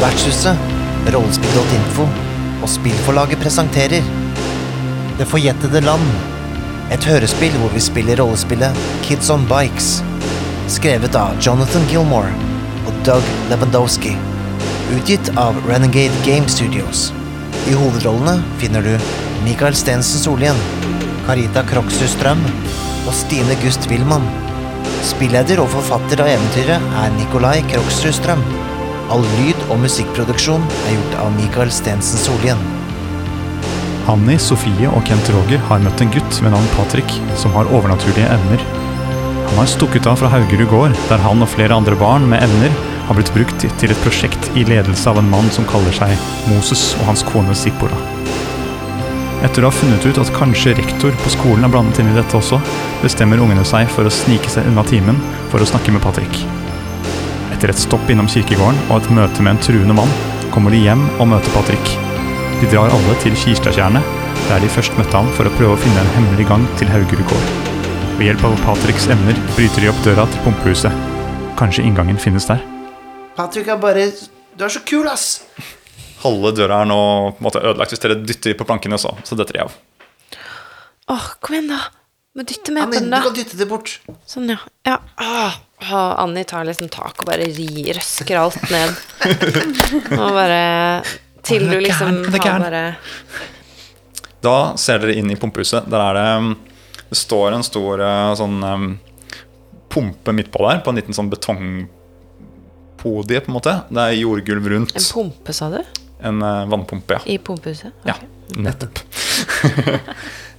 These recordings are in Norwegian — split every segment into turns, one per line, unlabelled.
Vertshuset, rollespill.info og spillforlaget presenterer Det forjettede land. Et hørespill hvor vi spiller rollespillet Kids on Bikes. Skrevet av Jonathan Gilmore og Doug Lewandowski. Utgitt av Renegade Game Studios. I hovedrollene finner du Michael Stensen Solien, Carita Kroksus Strøm og Stine Gust Wilman. Spilleder og forfatter av eventyret er Nikolai Kroksrud Strøm. All lyd- og musikkproduksjon er gjort av Michael Stensen Solien.
Hanni, Sofie og Kent Roger har møtt en gutt ved navn Patrick som har overnaturlige evner. Han har stukket av fra Haugerud gård, der han og flere andre barn med evner har blitt brukt til et prosjekt i ledelse av en mann som kaller seg Moses og hans kone Sippora. Etter å ha funnet ut at kanskje rektor på skolen er blandet inn i dette også, bestemmer ungene seg for å snike seg unna timen for å snakke med Patrick. Etter et stopp innom kirkegården og et møte med en truende mann, kommer de hjem og møter Patrick. De drar alle til Kirstadtjernet, der de først møtte ham for å prøve å finne en hemmelig gang til Haugerud gård. Ved hjelp av Patricks evner bryter de opp døra til pumpehuset. Kanskje inngangen finnes der?
Patrick er bare Du er så kul, ass!
Halve døra er nå på en måte ødelagt. Hvis dere dytter på plankene, så, så detter de av.
Åh, kom igjen, da. Må dytte mer på
Anne,
den,
du
da.
kan dytte det bort.
Sånn, ja. ja. Ah, ah, Annie tar liksom tak og bare ri, røsker alt ned. og bare Til
Å, den er
du liksom
gæren, den er
har
gæren.
bare
Da ser dere inn i pumpehuset. Der er det mm, Det står en stor eh, sånn mm, pumpe midt på der, på en liten sånn betongpodie, på en måte. Det er jordgulv rundt.
En pumpe, sa du?
En eh, vannpumpe, ja.
I pumpehuset?
Ja, nettopp.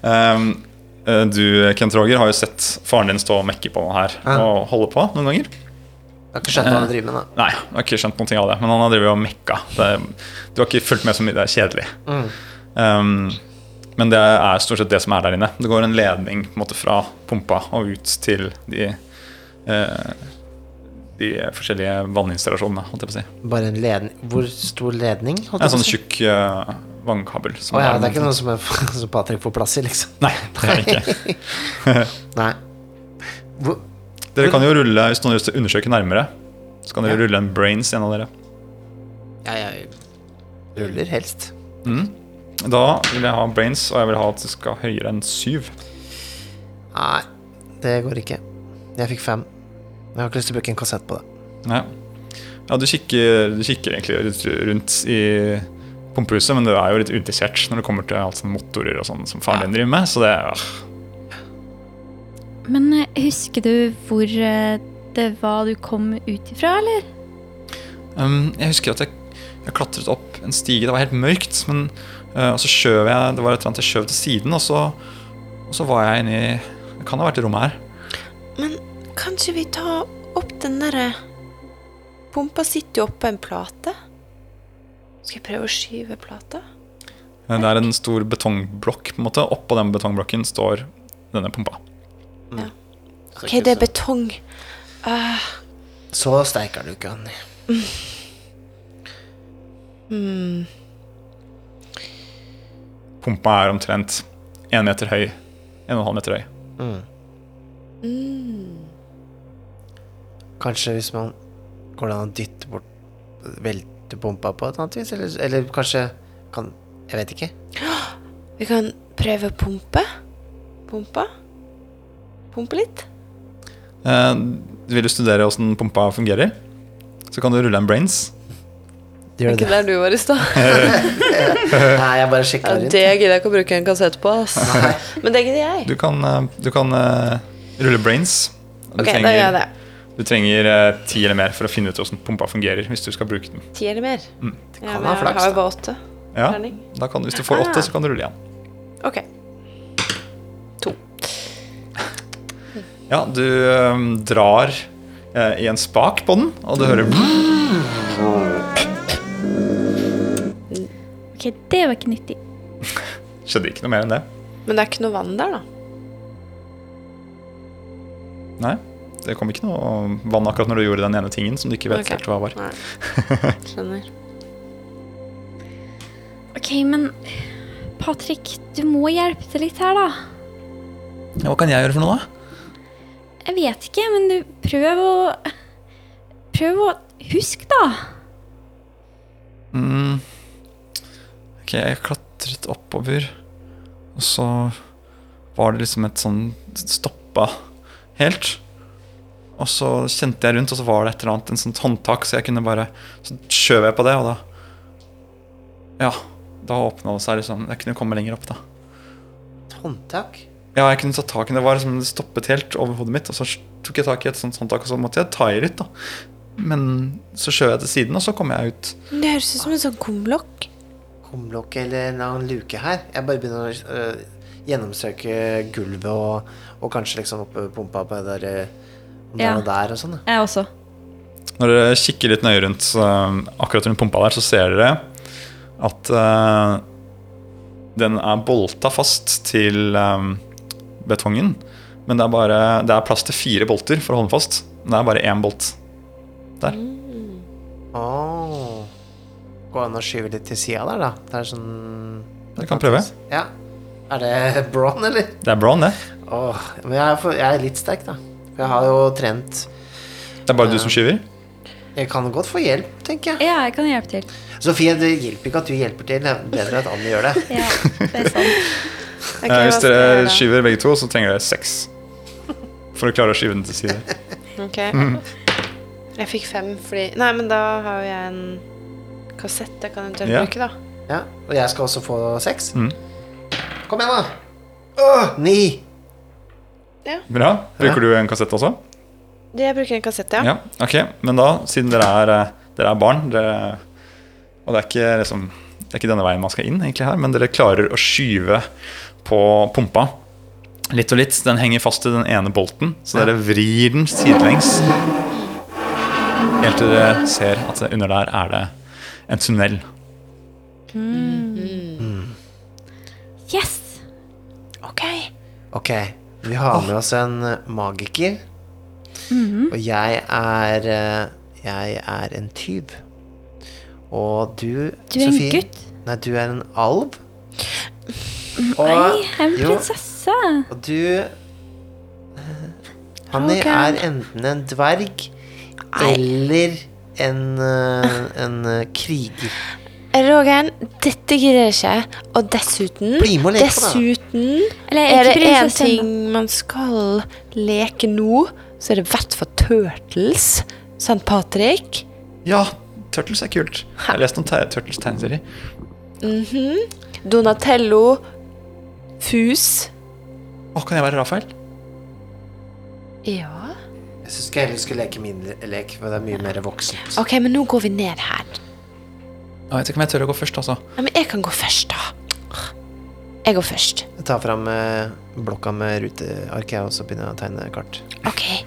um, eh, du, Kent Roger, har jo sett faren din stå og mekke på her
Ja.
og holde på noen ganger.
Jeg har ikke skjønt hva han driver med, da.
Nei, jeg har ikke skjønt noen ting av det, men han har drevet og mekka. Det, du har ikke fulgt med så mye, det er kjedelig.
Mm.
Um, men det er stort sett det som er der inne. Det går en ledning på en måte, fra pumpa og ut til de, eh, de forskjellige vanninstallasjonene, holdt jeg på å si.
Bare en ledning Hvor stor ledning? holdt
Det
jeg på å
er en sånn
si?
tjukk eh, vannkabel. som
Å ja, det er
rundt
ikke noe som, er, som Patrick får plass i, liksom.
Nei, det er ikke.
Nei. Hvor,
Dere kan jo rulle, hvis noen har lyst til å undersøke nærmere, så kan dere rulle en brains, en av dere.
ja, jeg ruller helst.
Da vil jeg ha brains, og jeg vil ha at det skal høyere enn syv.
Nei, det går ikke. Jeg fikk fem. Jeg har ikke lyst til å bruke en kassett på det.
Ja, ja du, kikker, du kikker egentlig litt rundt i pumpehuset, men du er jo litt uinteressert når det kommer til alt sånn motorer og sånn som faren din driver med, så det ah,
Men eh, husker du hvor eh, det var du kom ut ifra, eller?
Um, jeg husker at jeg, jeg klatret opp en stige. Det var helt mørkt. Men, eh, og så skjøv jeg det var et eller annet jeg skjøv til siden, og så, og så var jeg inni Det kan ha vært i rommet her.
Men kanskje vi tar opp den derre Pumpa sitter jo oppå en plate. Skal jeg prøve å skyve plata?
Eh, Det er en stor betongblokk. på en måte Oppå den betongblokken står denne pumpa.
Ok, det er betong.
Så sterk er du ikke, Annie.
Hmm.
Pumpa er omtrent én meter høy. En og en halv meter høy.
Mm.
Hmm.
Kanskje hvis man Går det an å dytte bort Velte pumpa på et annet vis? Eller, eller kanskje kan, Jeg vet ikke.
Vi kan prøve å pumpe. Pumpa. Pumpe litt.
Eh, vil du studere åssen pumpa fungerer? Så kan du rulle en brains.
Gjør
Ikke der du var i stad.
Nei, jeg bare sjekka
Ja,
rundt.
det gidder jeg ikke å bruke en kassett på, ass. Men det gidder jeg.
Du kan, eh, du kan eh, rulle brains. Du
Ok, da gjør jeg det.
Du trenger eh, ti eller mer for å finne ut hvordan pumpa fungerer. hvis du skal bruke den.
Ti eller mer. Ja,
kan
men
ha
jeg
flaks,
har jo
da.
bare åtte.
Ja,
Terning.
da kan, Hvis du får
Ah.
åtte, så kan du rulle igjen.
Ok. To.
Ja, Du eh, drar eh, i en spak på den, og du hører
Mm.
Ok, det var ikke nyttig.
Skjedde ikke noe mer enn det.
Men det er ikke noe vann der, da.
Nei, Det kom ikke noe vann akkurat når du gjorde den ene tingen som du ikke vet
Ok.
helt hva var.
Nei. Skjønner.
Ok, men Patrick, du må hjelpe til litt her, da.
Ja, hva kan jeg gjøre for noe, da?
Jeg vet ikke, men du prøv å Prøv å Husk, da.
Mm. Ok, jeg klatret oppover, og så var det liksom et sånn stoppa helt. Og så kjente jeg rundt, og så var det et eller annet, en sånt håndtak, så jeg kunne bare Så skjøv jeg på det, og da Ja, da åpna det seg liksom. Jeg kunne komme lenger opp, da.
Håndtak?
Ja, jeg kunne ta tak i det. Det var liksom det stoppet helt over hodet mitt, og så tok jeg tak i et sånt håndtak, og så måtte jeg ta i litt, da. Men så skjøv jeg til siden, og så kom jeg ut.
Men Det høres ut som en sånn kumlokk.
Kumlokk eller en annen luke her? Jeg bare begynner å øh, gjennomsøke gulvet og, og kanskje liksom oppe pumpa på det der øh, om det
Ja.
er noe der og sånn. da.
Jeg også.
Når dere kikker litt nøye rundt eh, akkurat rundt pumpa der, så ser dere at eh, den er bolta fast til eh, betongen. Men det er, bare, det er plass til fire bolter for å holde den fast. Det er bare én bolt.
Åh. Gå an å skyve litt til sida der, da. Det er sånn
Dere kan prøve.
Ja. Er det Bron, eller?
Det er brown, det.
Åh, men jeg er, for, jeg er litt sterk, da. For jeg har jo trent
Det er bare du som skyver.
Jeg kan godt få hjelp, tenker jeg.
Ja, jeg kan hjelpe til.
Sofie, det hjelper ikke at du hjelper til. Det er bedre at Annie gjør det.
Ja, det er sant.
Ok,
Eh,
hva
hvis
skal jeg
dere
gjøre da?
skyver begge to, så trenger dere seks. For å klare å skyve den til side.
Ok. Jeg fikk fem fordi Nei, men da har jo jeg en kassett jeg kan eventuelt
Ja.
bruke, da.
Ja, Og jeg skal også få seks.
Mm.
Kom igjen, da! Åh, ni!
Bra. Bruker du en kassett også?
Det jeg bruker en kassett, ja.
Ja, ok, men da, siden dere er, eh, dere er barn dere, Og det er, ikke, liksom, det er ikke denne veien man skal inn egentlig her Men dere klarer å skyve på pumpa Litt og litt, den henger fast i den ene bolten Så dere vrir den sidelengs Helt til dere ser at under der er det en tunnel
Yes!
Ok.
Ok, vi har med oss en eh, magiker.
Mhm.
Og jeg er eh, Jeg er en tyv. Og du,
Du er en
Sofie-
gutt. Mm,
Nei, du er en alv. Og,
Nei, jeg er en
jo,
prinsesse.
Og du Annie
Ok.
er enten en dverg eller en, eh, en eh, kriger.
Roger'n, dette greier ikke jeg. Og dessuten
Bli med og leke på det,
Dessuten
Eller jeg er
er det
ikke
én
prinsesse
ting
ennå.
man skal leke nå, så er det i hvert fall Turtles. Sant, Patrick?
Ja, Turtles er kult Jeg har lest om te- Turtles tegneserie
Mhm.
Donatello. Fus.
Å, kan jeg være Rafael?
Ja.
Jeg syns ikke jeg heller skulle leke min le- lek, for det er mye mer voksent.
OK, men nå går vi ned her.
Jeg vet ikke om jeg tør å gå først altså
Nei, men jeg kan gå først, da. Jeg går først.
Jeg tar fram eh, blokka med ruteark jeg, og så begynner jeg å tegne kart.
OK.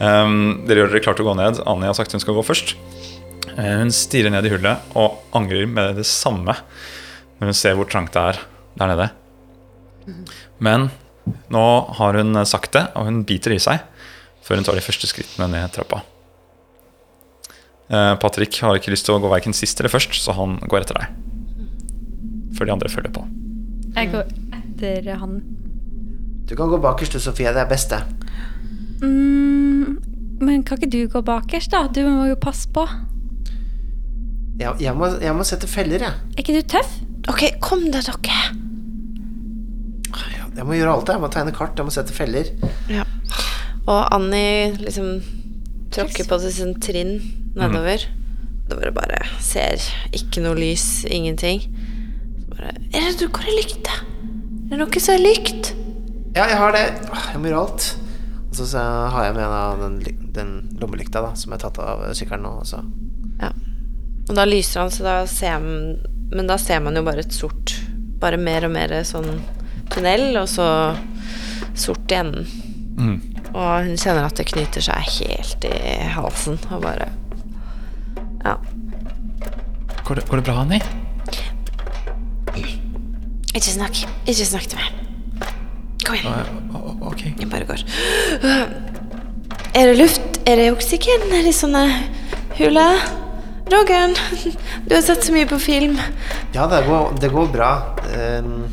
Um, dere gjør dere klart til å gå ned. Anja har sagt hun skal gå først. Eh, hun stirrer ned i hullet og angrer med det samme når hun ser hvor trangt det er der nede. Men nå har hun sagt det, og hun biter i seg før hun tar de første skrittene ned trappa. Eh, Patrick har ikke lyst til å gå verken sist eller først, så han går etter deg. Før de andre følger på.
Jeg går etter han.
Du kan gå bakerst du, Sofie. Det er best, det.
Mm, men kan ikke du gå bakerst, da? Du må jo passe på.
Jeg, jeg, må, jeg må sette feller, jeg.
Er ikke du tøff?
OK, kom da, dere.
Ah, Jeg må gjøre alt, jeg. Jeg må tegne kart, jeg må sette feller.
Ja. Og Annie liksom tråkker på seg sånn trinn nedover. Da var det bare Ser ikke noe lys, ingenting. Så bare Er det hvor er lykta? Er det noe som er lykt?
Ja, jeg har det. Åh, Jeg må gjøre alt. Og så, så har jeg med da, den, ly- den lommelykta da, som jeg har tatt av eh, sykkelen nå. og så-
Ja. Og da lyser han, så da ser man Men da ser man jo bare et sort Bare mer og mer sånn tunnel, og så sort i enden.
Mm.
Og hun kjenner at det knyter seg helt i halsen, og bare Ja.
Går det, går det bra, Annie?
Ikke snakk. Ikke snakk til meg. Kom igjen.
ok.
Jeg bare går. Er det luft? Er det oksygen nedi sånne huler? Rogan, du har sett så mye på film.
Ja, det går, det går bra. Ehm,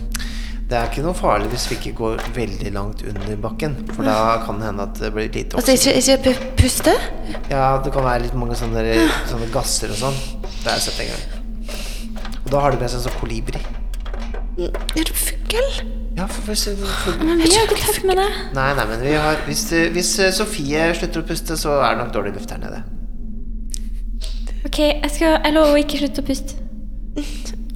Det er ikke noe farlig hvis vi ikke går veldig langt under bakken. For da kan det hende at det blir litt
Altså,
oksygen.
ikke, ikke pu- puste?
Ja, det kan være litt mange sånne, sånne gasser og sånn. Det er 70 ganger. Og da har de med seg en sånn kolibri.
Er det fugl?
Ja, for, for, for,
Men vi har ikke tatt med det.
Nei, nei, men vi har Hvis, eh, hvis eh, Sofie slutter å puste, så er det nok dårlig luft her nede.
Ok, jeg, skal, jeg lover å ikke slutte å puste.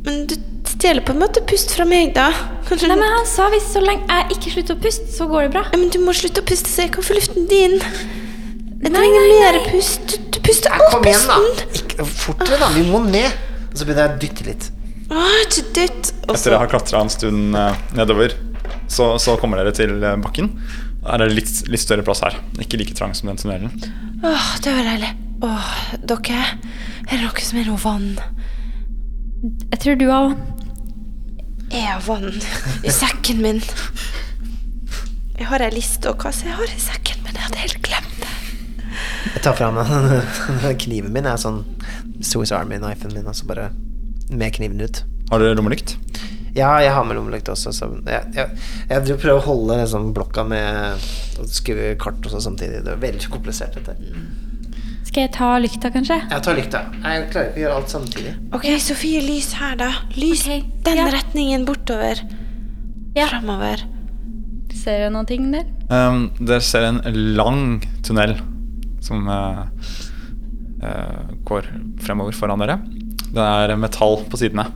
Men du stjeler på en måte pust fra meg, da. Kanskje
Nei, men han sa hvis så lenge jeg ikke slutter å puste, så går det bra.
Ja, men du må slutte å puste, så jeg kan få luften din. Jeg
Nei,
trenger
nei,
mer
nei.
pust. Du, du puster
Ja,
alt
kom igjen, da!
pusten.
Ikke, fortere, da! Vi må ned! Og så begynner jeg å dytte litt.
Å, ikke dytt. Og
Etter
så
å ha klatra en stund eh, nedover, så, så kommer dere til eh, bakken. Her er det litt, litt større plass her. Ikke like trang som den tunnelen.
Åh, det var deilig. Åh, dere. Er det noe som er noe vann?
Jeg tror du har
Jeg har vann i sekken min. Jeg har ei liste og kasse jeg har i sekken, men jeg hadde helt glemt det.
Jeg tar fram kniven min. Jeg er sånn Swiss Army-knifen min, og så bare med kniven ut.
Har dere lommelykt?
Ja, jeg har med lommelykt også, så jeg, jeg, jeg driver og prøver å holde liksom, blokka med å skrive kart og sånn samtidig. Det er veldig komplisert, dette.
Skal jeg ta lykta, kanskje?
Jeg tar lykta. Jeg klarer ikke å gjøre alt samtidig.
Ok, Sofie, lys her, da. Lys
Ok,
den
ja.
retningen bortover.
Ja.
Framover.
Ser du noen ting der?
Um, dere ser en lang tunnel som eh, eh, går fremover foran dere. Det er metall på sidene.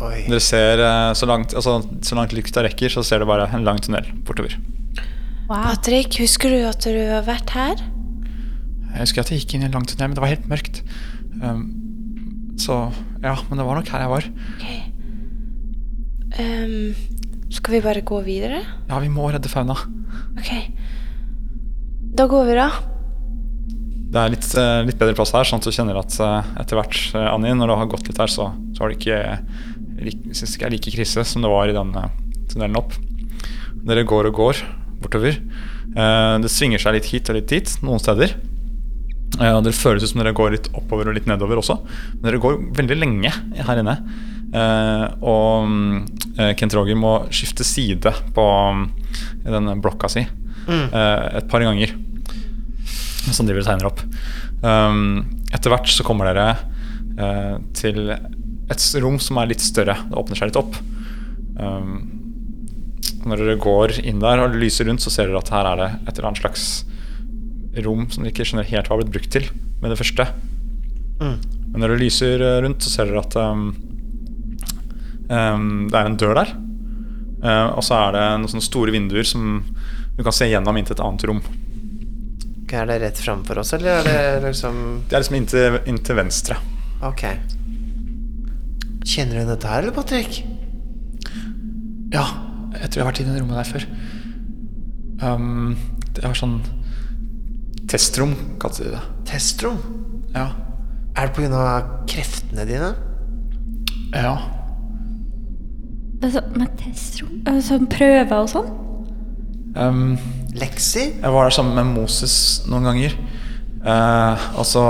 Oi.
Dere ser eh, så langt, altså, så langt lykta rekker, så ser dere bare en lang tunnel bortover.
Wow.
Patrick, husker du at du har vært her?
Jeg husker at jeg gikk inn i en lang tunnel, men det var helt mørkt. Um, så ja, men det var nok her jeg var.
Ok. Ehm, skal vi bare gå videre?
Ja, vi må redde fauna.
Ok. Da går vi, da.
Det er litt, eh, litt bedre plass her, sånn at du kjenner at eh, etter hvert, eh, Annie, når du har gått litt her, så, så har du ikke eh, lik- synes ikke det er like krise som det var i den eh, tunnelen opp. Dere går og går bortover. Eh, Det svinger seg litt hit og litt dit noen steder. Eh, og Dere føles ut som dere går litt oppover og litt nedover også. Men dere går veldig lenge her inne. Eh, og mm, eh, Kent Roger må skifte side på mm, denne blokka si
Mm.
eh, et par ganger. Som driver og tegner opp. Um, etter hvert så kommer dere eh, til et s- rom som er litt større. Det åpner seg litt opp. Um, når dere går inn der og lyser rundt, så ser dere at her er det et eller annet slags rom som dere ikke skjønner helt hva har blitt brukt til med det første.
Mm.
Men når dere lyser eh, rundt, så ser dere at um, um, det er en dør der. Eh, og så er det noen sånne store vinduer som du kan se gjennom inntil et annet rom.
Ok, Er det rett framfor oss, eller er det liksom
Det er liksom inntil, inntil venstre.
Ok. Kjenner du dette her, eller, Patrick?
Ja, jeg tror jeg har vært i det rommet der før. Um, det har sånn Testrom, kaller de det.
Testrom?
Ja.
Er det pga. kreftene dine?
ja.
Altså, med testrom? Altså, prøver og sånn?
Um,
Lekser?
jeg var der sammen med Moses noen ganger. Eh, og så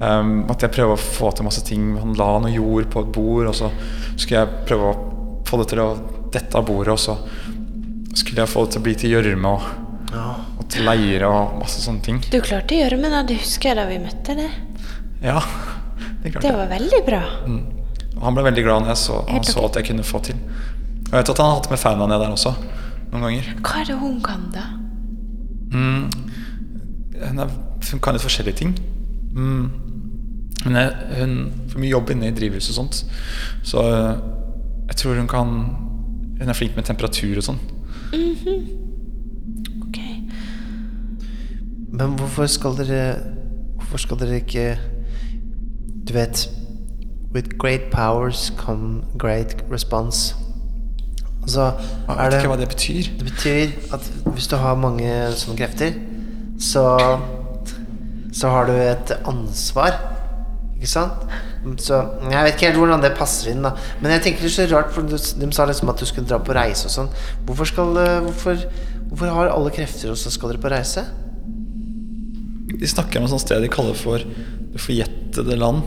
um, måtte jeg prøve å få til masse ting. Han la noe jord på et bord, og så skulle jeg prøve å få det til å dette av bordet, og så skulle jeg få det til å bli til gjørme og,
Ja.
og til leire og masse sånne ting.
Du klarte gjørmene, det husker jeg da vi møtte det.
Ja, det klarte
Det
jeg.
var veldig bra.
Mm. Og Han ble veldig glad når jeg så, han
Helt
så
ok.
at jeg kunne få til. Jeg vet at han har hatt med fauna ned der også, noen ganger.
Hva er det hun kan, da?
Mm. Hun, er, hun kan litt forskjellige ting. Mm. Hun, er, hun får mye jobb inne i drivhuset og sånt. Så øh, jeg tror hun kan Hun er flink med temperatur og sånn.
Ok.
Men hvorfor skal dere Hvorfor skal dere ikke Du vet With great powers come great response. Altså,
Jeg
er
vet
det
ikke hva det betyr.
Det betyr at hvis du har mange sånne krefter, så Så har du et ansvar. Ikke sant? Så Jeg vet ikke helt hvordan det passer inn, da. Men jeg tenker det er så rart, for du, de sa liksom at du skulle dra på reise og sånn. Hvorfor skal eh, Hvorfor, hvorfor har alle krefter, og så skal dere på reise?
De snakker om et sånt sted de kaller for det forjettede land.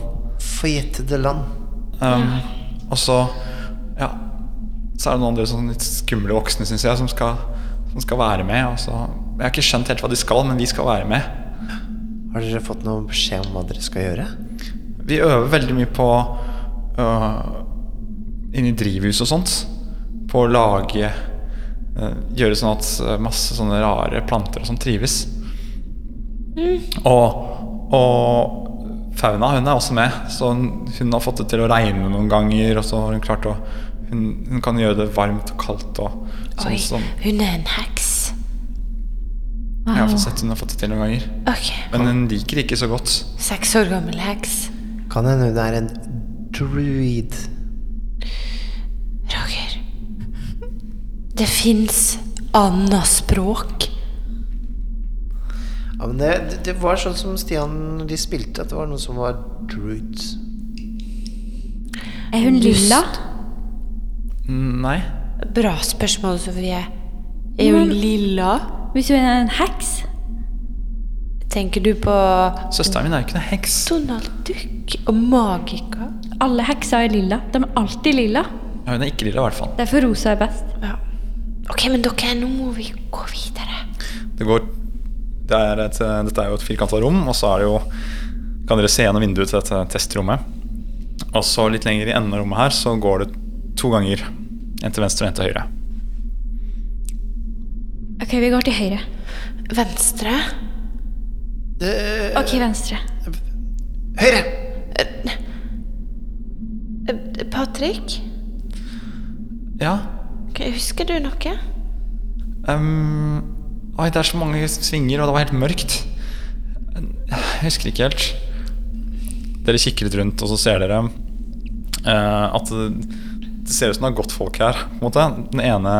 Forjettede land.
Um, og så Ja. Så er det noen andre sånn litt skumle voksne, syns jeg, som skal, som skal være med. Og så, jeg har ikke skjønt helt hva de skal, men vi skal være med.
Har dere fått noen beskjed om hva dere skal gjøre?
Vi øver veldig mye på øh, Inni drivhus og sånt. På å lage øh, Gjøre sånn at øh, masse sånne rare planter og sånn trives. Og, og Fauna hun er også med, så hun, hun har fått det til å regne noen ganger. Og så har hun klart å Hun, hun kan gjøre det varmt og kaldt og sånn
Oi,
som
hun er en heks.
Jeg har fått sett hun har fått det til noen ganger.
Ok,
Men hun liker det ikke så godt.
Seks år gammel heks.
Kan hende hun er en druid.
Roger. Det fins anna språk.
Ja, men det, det- det var sånn som Stian når de spilte, at det var noen som var druids.
Er hun lilla?
Nei.
Bra spørsmål, Sofie. Er hun lilla?
Hvis hun er en heks?
Tenker du på
Søsteren min er jo ikke noe heks.
Donald Duck og Magica?
Alle hekser er lilla. De er alltid lilla.
Ja, hun er ikke lilla, i hvert fall.
Derfor rosa er best.
Ja. Ok, men dere, nå må vi gå videre.
Det går, det er et, dette er jo et firkanta rom, og så er det jo Kan dere se gjennom vinduet til dette testrommet. Og så litt lenger i enden av rommet her så går det to ganger. En til venstre og en til høyre.
Ok, vi går til høyre.
Venstre.
Ok, venstre.
Høyre!
Eh, Patrick?
Ja.
Ok, Husker du noe?
ehm, oi, det er så mange svinger, og det var helt mørkt. Jeg husker ikke helt. Dere kikker litt rundt, og så ser dere eh, at det, det ser ut som det har gått folk her. På en måte. Den ene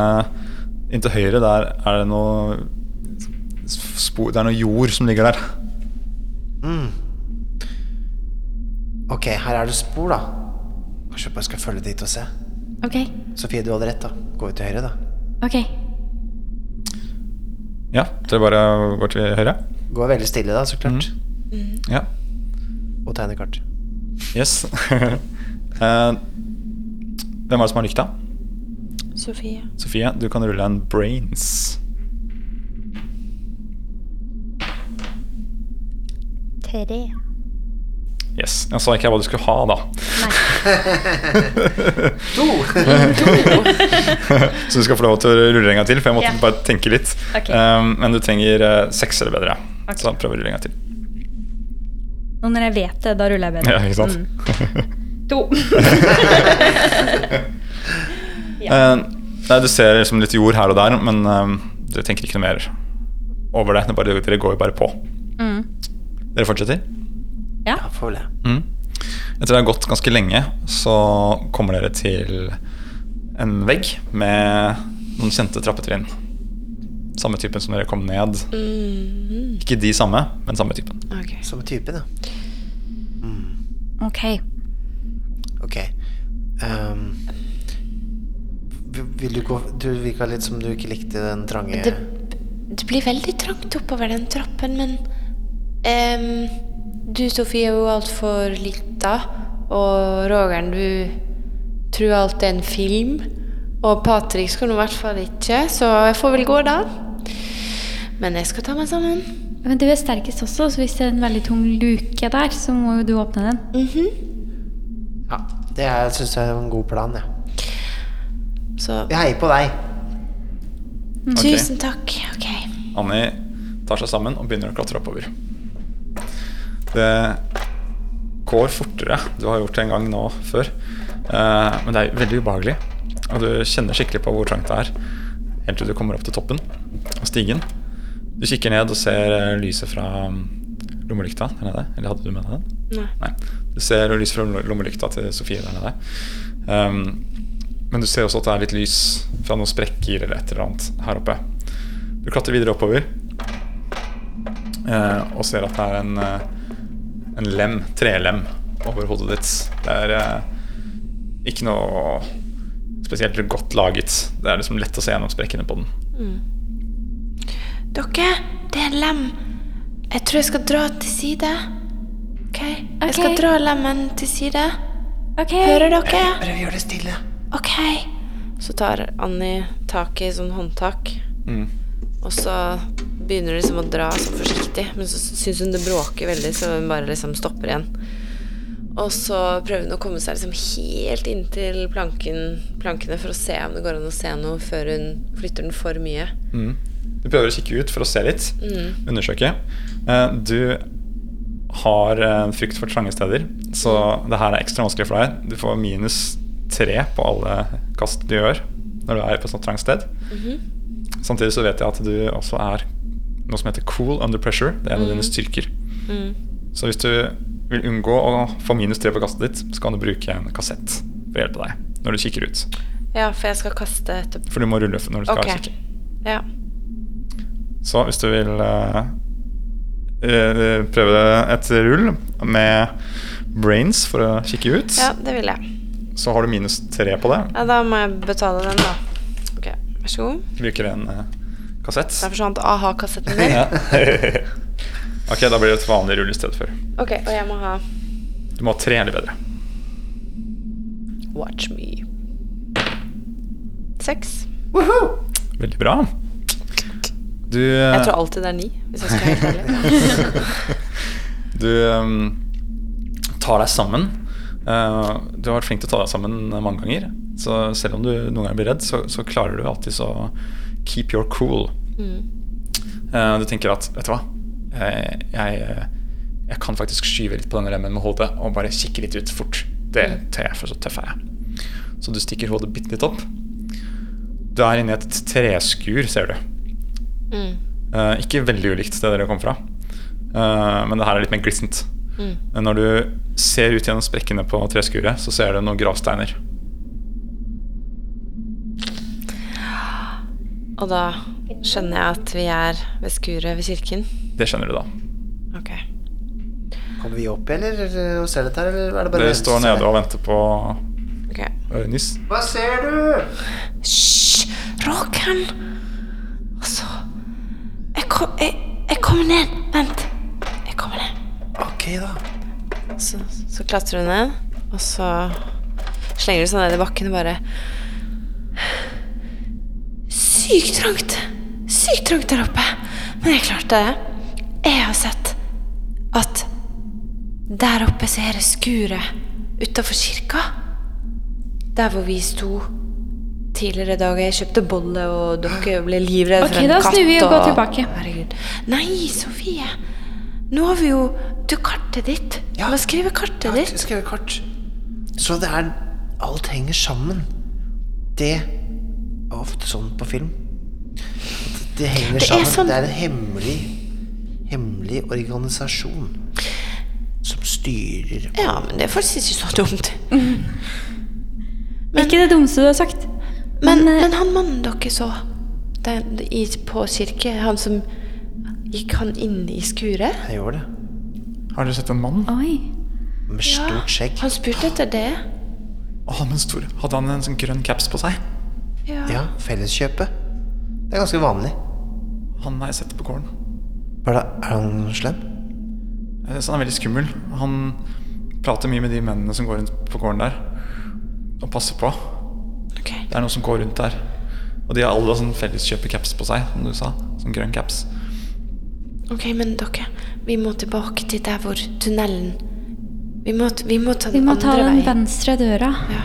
inntil høyre, der er det noe spor, Det er noe jord som ligger der.
Mm. Ok, her er det spor, da. Kanskje vi bare skal følge dit og se.
Ok,
Sofie, du hadde rett, da. Gå ut til høyre, da.
ok.
Ja, dere bare går til høyre? Mhm.
Gå veldig stille, da, så klart.
Mm. Ja.
Og tegne kart.
Yes. Eh, hvem er det som har lykta?
Sofie.
Sofie, du kan rulle en brains.
Tre.
Yes. Jeg sa ikke hva du skulle ha, da. Så du skal få lov til å rulle en gang til, for jeg måtte
Ja.
bare tenke litt.
Ok.
Um, men du trenger eh, seks eller bedre. Så prøv å rulle en gang til.
Nå når jeg vet det, da ruller jeg bedre.
Ja, ikke sant?
Mm. To.
Eh, nei, du ser liksom litt jord her og der, men eh, du tenker ikke noe mer over det. det er bare, dere går jo bare på.
Mm.
Dere fortsetter?
Ja, får vel det.
Mm. Etter det har gått ganske lenge, så kommer dere til en vegg med noen kjente trappetrinn. Samme typen som dere kom ned. Ikke de samme, men samme typen.
Ok.
Samme type, da. Mm,
Ok.
Ok. Ehm, vil- vil du gå Du virka litt som du ikke likte den trange
Det, det blir veldig trangt oppover den trappen, men ehm, Du, Sofie, er jo altfor lita, og Roger, du tror alt er en film. Og Patrick skal nå i hvert fall ikke, så jeg får vel gå, da. Men jeg skal ta meg sammen.
Men du er sterkest også, så hvis det er en veldig tung luke der, så må jo du åpne den.
Ja, det er- synes jeg er en god plan, jeg.
Så
Jeg heier på deg.
Ok.
tusen takk. Ok.
Annie tar seg sammen og begynner å klatre oppover. Det går fortere. Du har gjort det en gang nå før. Eh, Men det er veldig ubehagelig. Og du kjenner skikkelig på hvor trangt det er helt til du kommer opp til toppen av stigen. Du kikker ned og ser eh, lyset fra mm, lommelykta der nede. Eller hadde du med deg den?
Nei.
Nei. Du ser lys fra lommelykta til Sofie der nede. Um, men du ser også at det er litt lys fra noen sprekker eller et eller annet her oppe. Du klatrer videre oppover eh, og ser at det er en, eh, en lem, trelem, over hodet ditt. Det er eh, ikke noe spesielt godt laget. Det er liksom lett å se gjennom sprekkene på den.
Dere, det er en lem. Jeg tror jeg skal dra til side. Ok? Jeg skal
Ok.
dra lemmen til side.
Ok.
Hører dere?
Prøv å gjøre det stille.
Ok. Så tar Annie tak i sånn håndtak.
Mm.
Og så begynner hun liksom å dra sånn forsiktig, men så syns hun det bråker veldig, så hun bare liksom stopper igjen. Og så prøver hun å komme seg liksom helt inntil planken, plankene for å se om det går an å se noe før hun flytter den for mye.
Du prøver å kikke ut for å se litt, undersøke. Eh, Du har en frykt for trange steder, så det her er ekstra vanskelig for deg. Du får minus tre på alle kast du gjør når du er på et sånt trangt sted. Samtidig så vet jeg at du også er noe som heter cool under pressure. Det er en av dine styrker.
Mm.
Så hvis du vil unngå å få minus tre på kastet ditt, så kan du bruke en kassett for å hjelpe deg når du kikker ut.
Ja, for jeg skal kaste etterpå.
For du må rulle når du skal
Ok.
kikke.
Ja.
Så hvis du vil eh, eh, prøve et rull med brains for å kikke ut,
ja, det vil jeg.
så har du minus tre på det.
Ja, da må jeg betale den, da. Ok, Vær så god.
Bruker en eh, kassett.
Der forsvant aha-kassetten min.
Ja. ok, da blir det et vanlig rull i stedet for.
Ok, og jeg må ha
Du må ha tre eller bedre.
Watch me. Seks.
Veldig bra. Du eh,
Jeg tror alltid det er ni, hvis jeg skal være helt ærlig.
Du ehm, tar deg sammen. Eh, du har vært flink til å ta deg sammen mange ganger. Så selv om du noen ganger blir redd, så, så klarer du alltid så keep your cool.
Mm.
Eh, du tenker at vet du hva, Eh, jeg, eh, jeg kan faktisk skyve litt på den remmen med hodet og bare kikke litt ut fort. Det tør jeg, for så tøff er jeg. Så du stikker hodet bitte litt opp. Du er inne i et treskur, ser du.
Mm.
Eh, ikke veldig ulikt det dere kom fra, Eh, men det her er litt mer glissent.
Mm.
Eh, Når du ser ut gjennom sprekkene på treskuret, så ser du noen gravsteiner.
Og da skjønner jeg at vi er ved skuret ved kirken.
Det skjønner du da.
Ok.
Kommer vi opp, eller? eh, Og ser dette her, eller er det bare
Dere
Jens
står
som
nede
er-
og venter på
ok.
eh, Nis.
Hva ser du?
Hysj! Råken! Altså jeg, kom, jeg, jeg kommer ned. Vent. Jeg kommer ned.
Ok, da.
Så, så klatrer hun ned, og så slenger hun seg ned i bakken og bare Sykt trangt. Sykt trangt der oppe. Men jeg klarte det. Jeg har sett at der oppe så er det skuret utafor kirka. Der hvor vi sto tidligere i dag. Jeg kjøpte bolle, og dere ble livredde
Ok,
for Altså, en
da
katt.
snur vi og går
og-
tilbake.
Herregud. Nei, Sofie. Nå har vi jo Du, kartet ditt.
Ja.
Du må skrive kartet
Kart,
ditt.
skrevet kart. Så det er Alt henger sammen. Det er ofte sånn på film. At Det henger
Det er
sammen.
sånn-
Det er en hemmelig Hemmelig organisasjon som styrer
Ja, men det er faktisk ikke så dumt.
Ikke det dummeste du har sagt.
Men,
Men, eh,
men han mannen dere så den, i, på kirke, han som Gikk han inn i skuret?
Jeg gjør det.
Har dere sett en mann?
Oi.
Med stort skjegg.
Han spurte etter det.
Å, men stor. Hadde han en sånn grønn caps på seg?
Ja.
Ja, Felleskjøpet. Det er ganske vanlig.
Han har jeg sett på gården.
Hva Er det- er han slem?
Eh, Så han er veldig skummel. Han prater mye med de mennene som går rundt på gården der, og passer på.
Ok.
Det er noen som går rundt der. Og de har alle sånn felleskjøpecaps på seg, som du sa. Sånn grønn caps.
ok, men dere, vi må tilbake til der hvor tunnelen Vi må, vi må ta
Vi
den
må ta
andre veien.
den venstre døra.
Ja.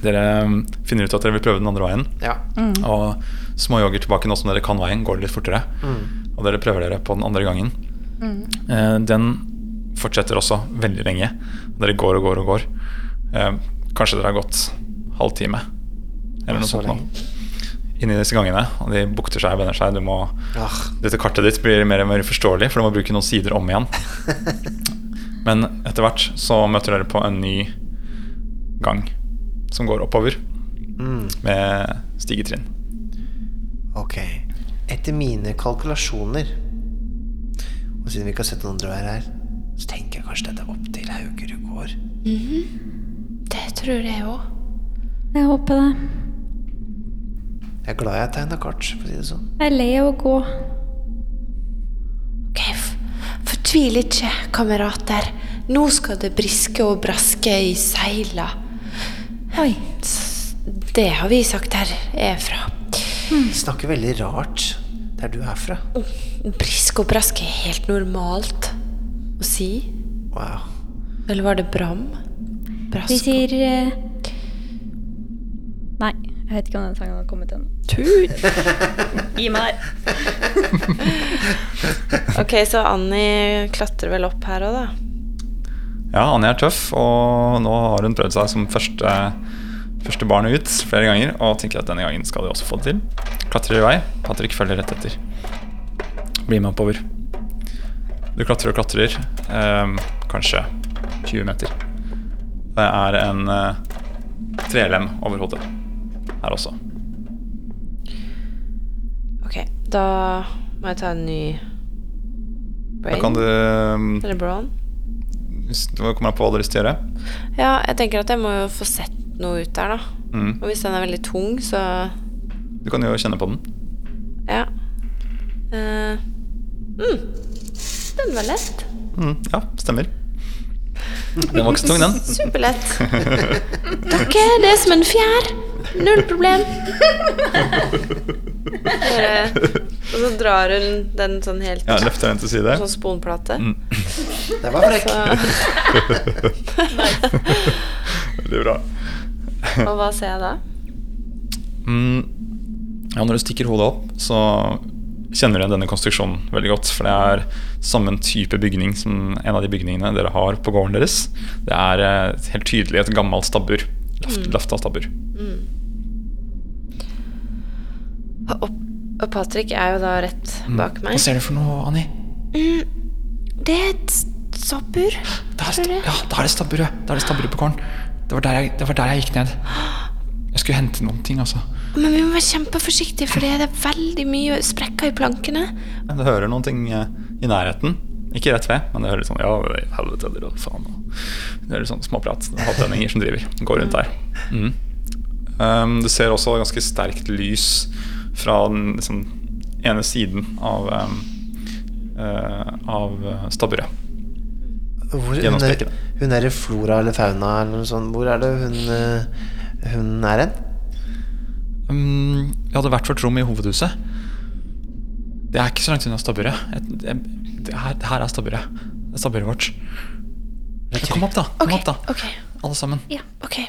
Dere mm, finner ut at dere vil prøve den andre veien.
Ja.
Og småjogger tilbake nå som dere kan veien, går det litt fortere. Og dere prøver dere på den andre gangen.
Mm.
Eh, den fortsetter også veldig lenge. Dere går og går og går. Eh, kanskje dere har gått halvtime eller noe
Så
sånt nå. Inni disse gangene. Og de bukter seg og vender seg. Du må,
Ah.
dette kartet ditt blir mer og mer uforståelig, for du må bruke noen sider om igjen. Men etter hvert så møter dere på en ny gang som går oppover
Mm.
med stigetrinn.
Ok. Etter mine kalkulasjoner, og siden vi ikke har sett noen drar her, så tenker jeg kanskje dette er opp til Haugerud gård.
Det tror jeg òg.
Jeg håper det.
Jeg er glad jeg tegna kart, for å si det sånn.
Jeg er lei av å gå.
Ok, f- fortvil ikke, kamerater. Nå skal det briske og braske i seila.
Oi.
S- Det har vi sagt her er fra.
De snakker veldig rart der du er fra.
Briske og braske er helt normalt å si.
Wow.
Eller var det Bram?
Vi
Brask?
sier eh, Nei, jeg vet ikke om den sangen har kommet ennå. Gi meg der.
Ok, så Annie klatrer vel opp her òg, da.
Ja, Anja er tøff, og nå har hun prøvd seg som første, første barn ut flere ganger. Og tenker at denne gangen skal de også få det til. Klatrer i vei. Patrick følger rett etter. Blir med oppover. Du klatrer og klatrer. ehm, kanskje 20 meter. Det er en eh, trelem over hodet her også.
Ok, da må jeg ta en ny
Da kan du
brain. Eller brawn.
hvis du kommer an på hva du har lyst til å gjøre.
Ja, jeg tenker at jeg må jo få sett noe ut der, da.
Mm.
Og hvis den er veldig tung, så
Du kan jo kjenne på den.
ja. Eh, mm. Den var lett.
Mm, ja, stemmer. Den var ikke så tung, den.
Superlett. Dere, det er som en fjær. Null problem. Bare- Og så drar hun den sånn helt
Ja, Mm. Løfter den til side.
Sånn sponplate.
Den var frekk.
Altså-
Så,
Veldig bra.
og hva ser jeg da?
Mm. Ja, når du stikker hodet opp, så kjenner du igjen denne konstruksjonen veldig godt. For det er samme type bygning som en av de bygningene dere har på gården deres. Det er eh, helt tydelig et gammelt stabbur. Laft,
Mm.
Lafta stabbur.
Og, og Patrick er jo da rett bak meg.
Hva ser du for noe, Annie?
Det er et stabbur.
Der,
Tror du?
ja, der er det stabburet. Der er det stabburet på gården. Det var, der jeg, det var der jeg gikk ned. Jeg skulle hente noen ting, altså.
Men vi må være kjempeforsiktige, for det er veldig mye sprekker i plankene.
Men du hører noen ting eh, i nærheten. Ikke rett ved, men du hører litt sånn Ja, i helvete, eller hva faen. Du hører litt sånn småprat. Hattlendinger som driver. Går rundt der. Mm. Um, du ser også ganske sterkt lys fra den liksom, ene siden av um, eh, Av eh, stabburet.
Hvor, hun, er,
Gjennomspekket.
hun er i flora eller fauna eller noe sånt. Hvor er det hun, eh, hun er hen?
Um, jeg hadde hvert vårt rom i hovedhuset. Det er ikke så langt unna stabburet. Jeg- jeg- Det her, det her er stabburet. Det er stabburet vårt. Kom opp, da. Kom opp da
ok,
Alle sammen.
ok.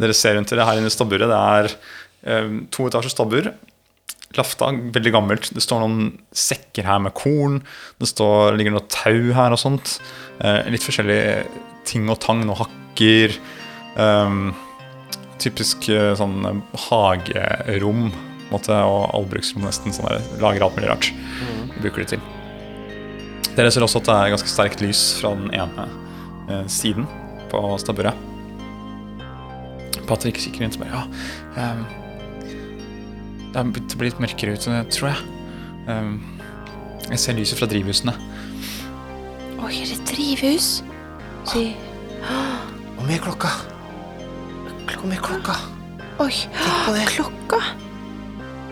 Dere ser rundt dere her inne i stabburet. Det er eh, to etasjers stabbur. Lafta, veldig gammelt. Det står noen sekker her med korn. Det står, ligger noe tau her og sånt. Eh, litt forskjellige ting og tang. Noen hakker. Ehm, typisk eh, sånn eh, hagerom på en måte, og allbruksrom, nesten. Sånn der, lager alt mulig rart. Bruker det til. Dere ser også at det er ganske sterkt lys fra den ene eh, siden på stabburet. Patrick kikker rundt og bare Ja, ehm, det har blitt- blitt mørkere ute, tror jeg. Ehm, jeg ser lyset fra drivhusene.
Oi, er det drivhus? Si.
Hvor mye er klokka? Hvor mye er klokka?
Oi,
på det.
klokka.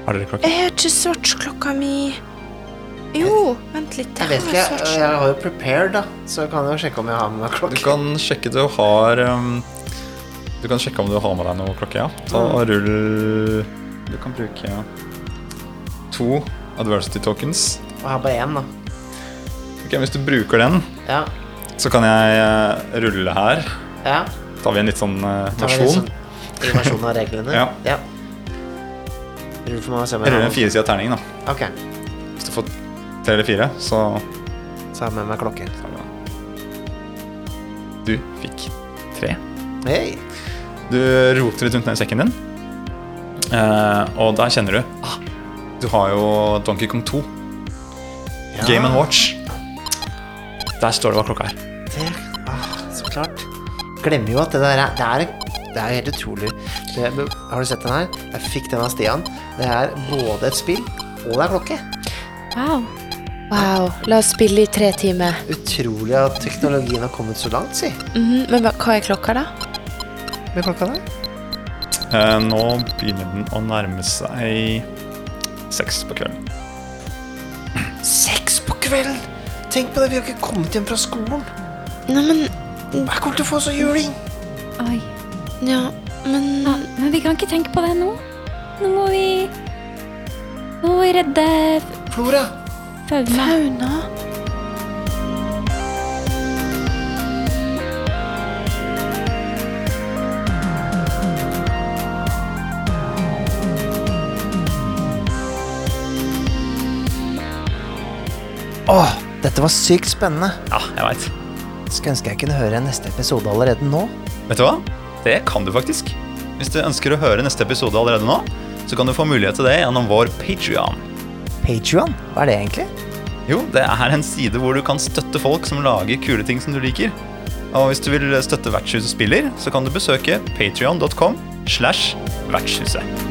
Har dere klokke?
Jeg hørte svartsklokka mi. Jo, vent litt.
Jeg vet ikke.
svarts-
Jeg, jeg har jo prepared, da. Så jeg kan jo sjekke om jeg har med meg
Du
klokke.
kan sjekke du har ehm, Du kan sjekke om du har med deg noe klokke, ja. Ta
Mm.
og rull Du kan bruke to adversity tokens.
Og jeg har bare én, da.
Ok, Hvis du bruker den,
Ja.
så kan jeg eh, rulle her.
ja.
Tar vi en litt sånn eh,
Da er det
versjon?
sånn Versjon av reglene?
Ja.
ja. Rull for meg og se om
Jeg
jeg
ruller
har
en firesida terning, da.
Ok,
Hvis du får tre eller fire, så
så har jeg med meg klokken.
Du fikk tre.
Hei!
Du roter litt rundt ned i sekken din, eh, og der kjenner du ah, Du har jo Donkey Kong 2.
Ja.
Game and Watch. Der står det hva klokka er.
Det, ah, så klart. Glemmer jo at det der er Det er, det er helt utrolig. Det, har du sett den her? Jeg fikk den av Stian. Det er både et spill og det er klokke.
Wow.
Wow, la oss spille i tre timer.
Utrolig at teknologien har kommet så langt, si.
Mhm, Men hva- hva er klokka, da?
Med klokka der.
Eh, nå begynner den å nærme seg seks på kvelden.
Seks på kvelden! Tenk på det, vi har ikke kommet hjem fra skolen.
Nei, men
Jeg kommer til å få så juling.
Oi.
Ja, men
Ja, men vi kan ikke tenke på det nå. Nå må vi Nå må vi redde
Flora!
fauna.
fauna
Åh, dette var sykt spennende.
Ja, jeg veit.
Skulle ønske jeg kunne høre neste episode allerede nå.
Vet du hva? Det kan du faktisk. Hvis du ønsker å høre neste episode allerede nå, så kan du få mulighet til det gjennom vår Patreon.
Patreon, hva er det egentlig?
Jo, det er en side hvor du kan støtte folk som lager kule ting som du liker. Og hvis du vil støtte Vertshuset spiller, så kan du besøke patrion.com slash vertshuset.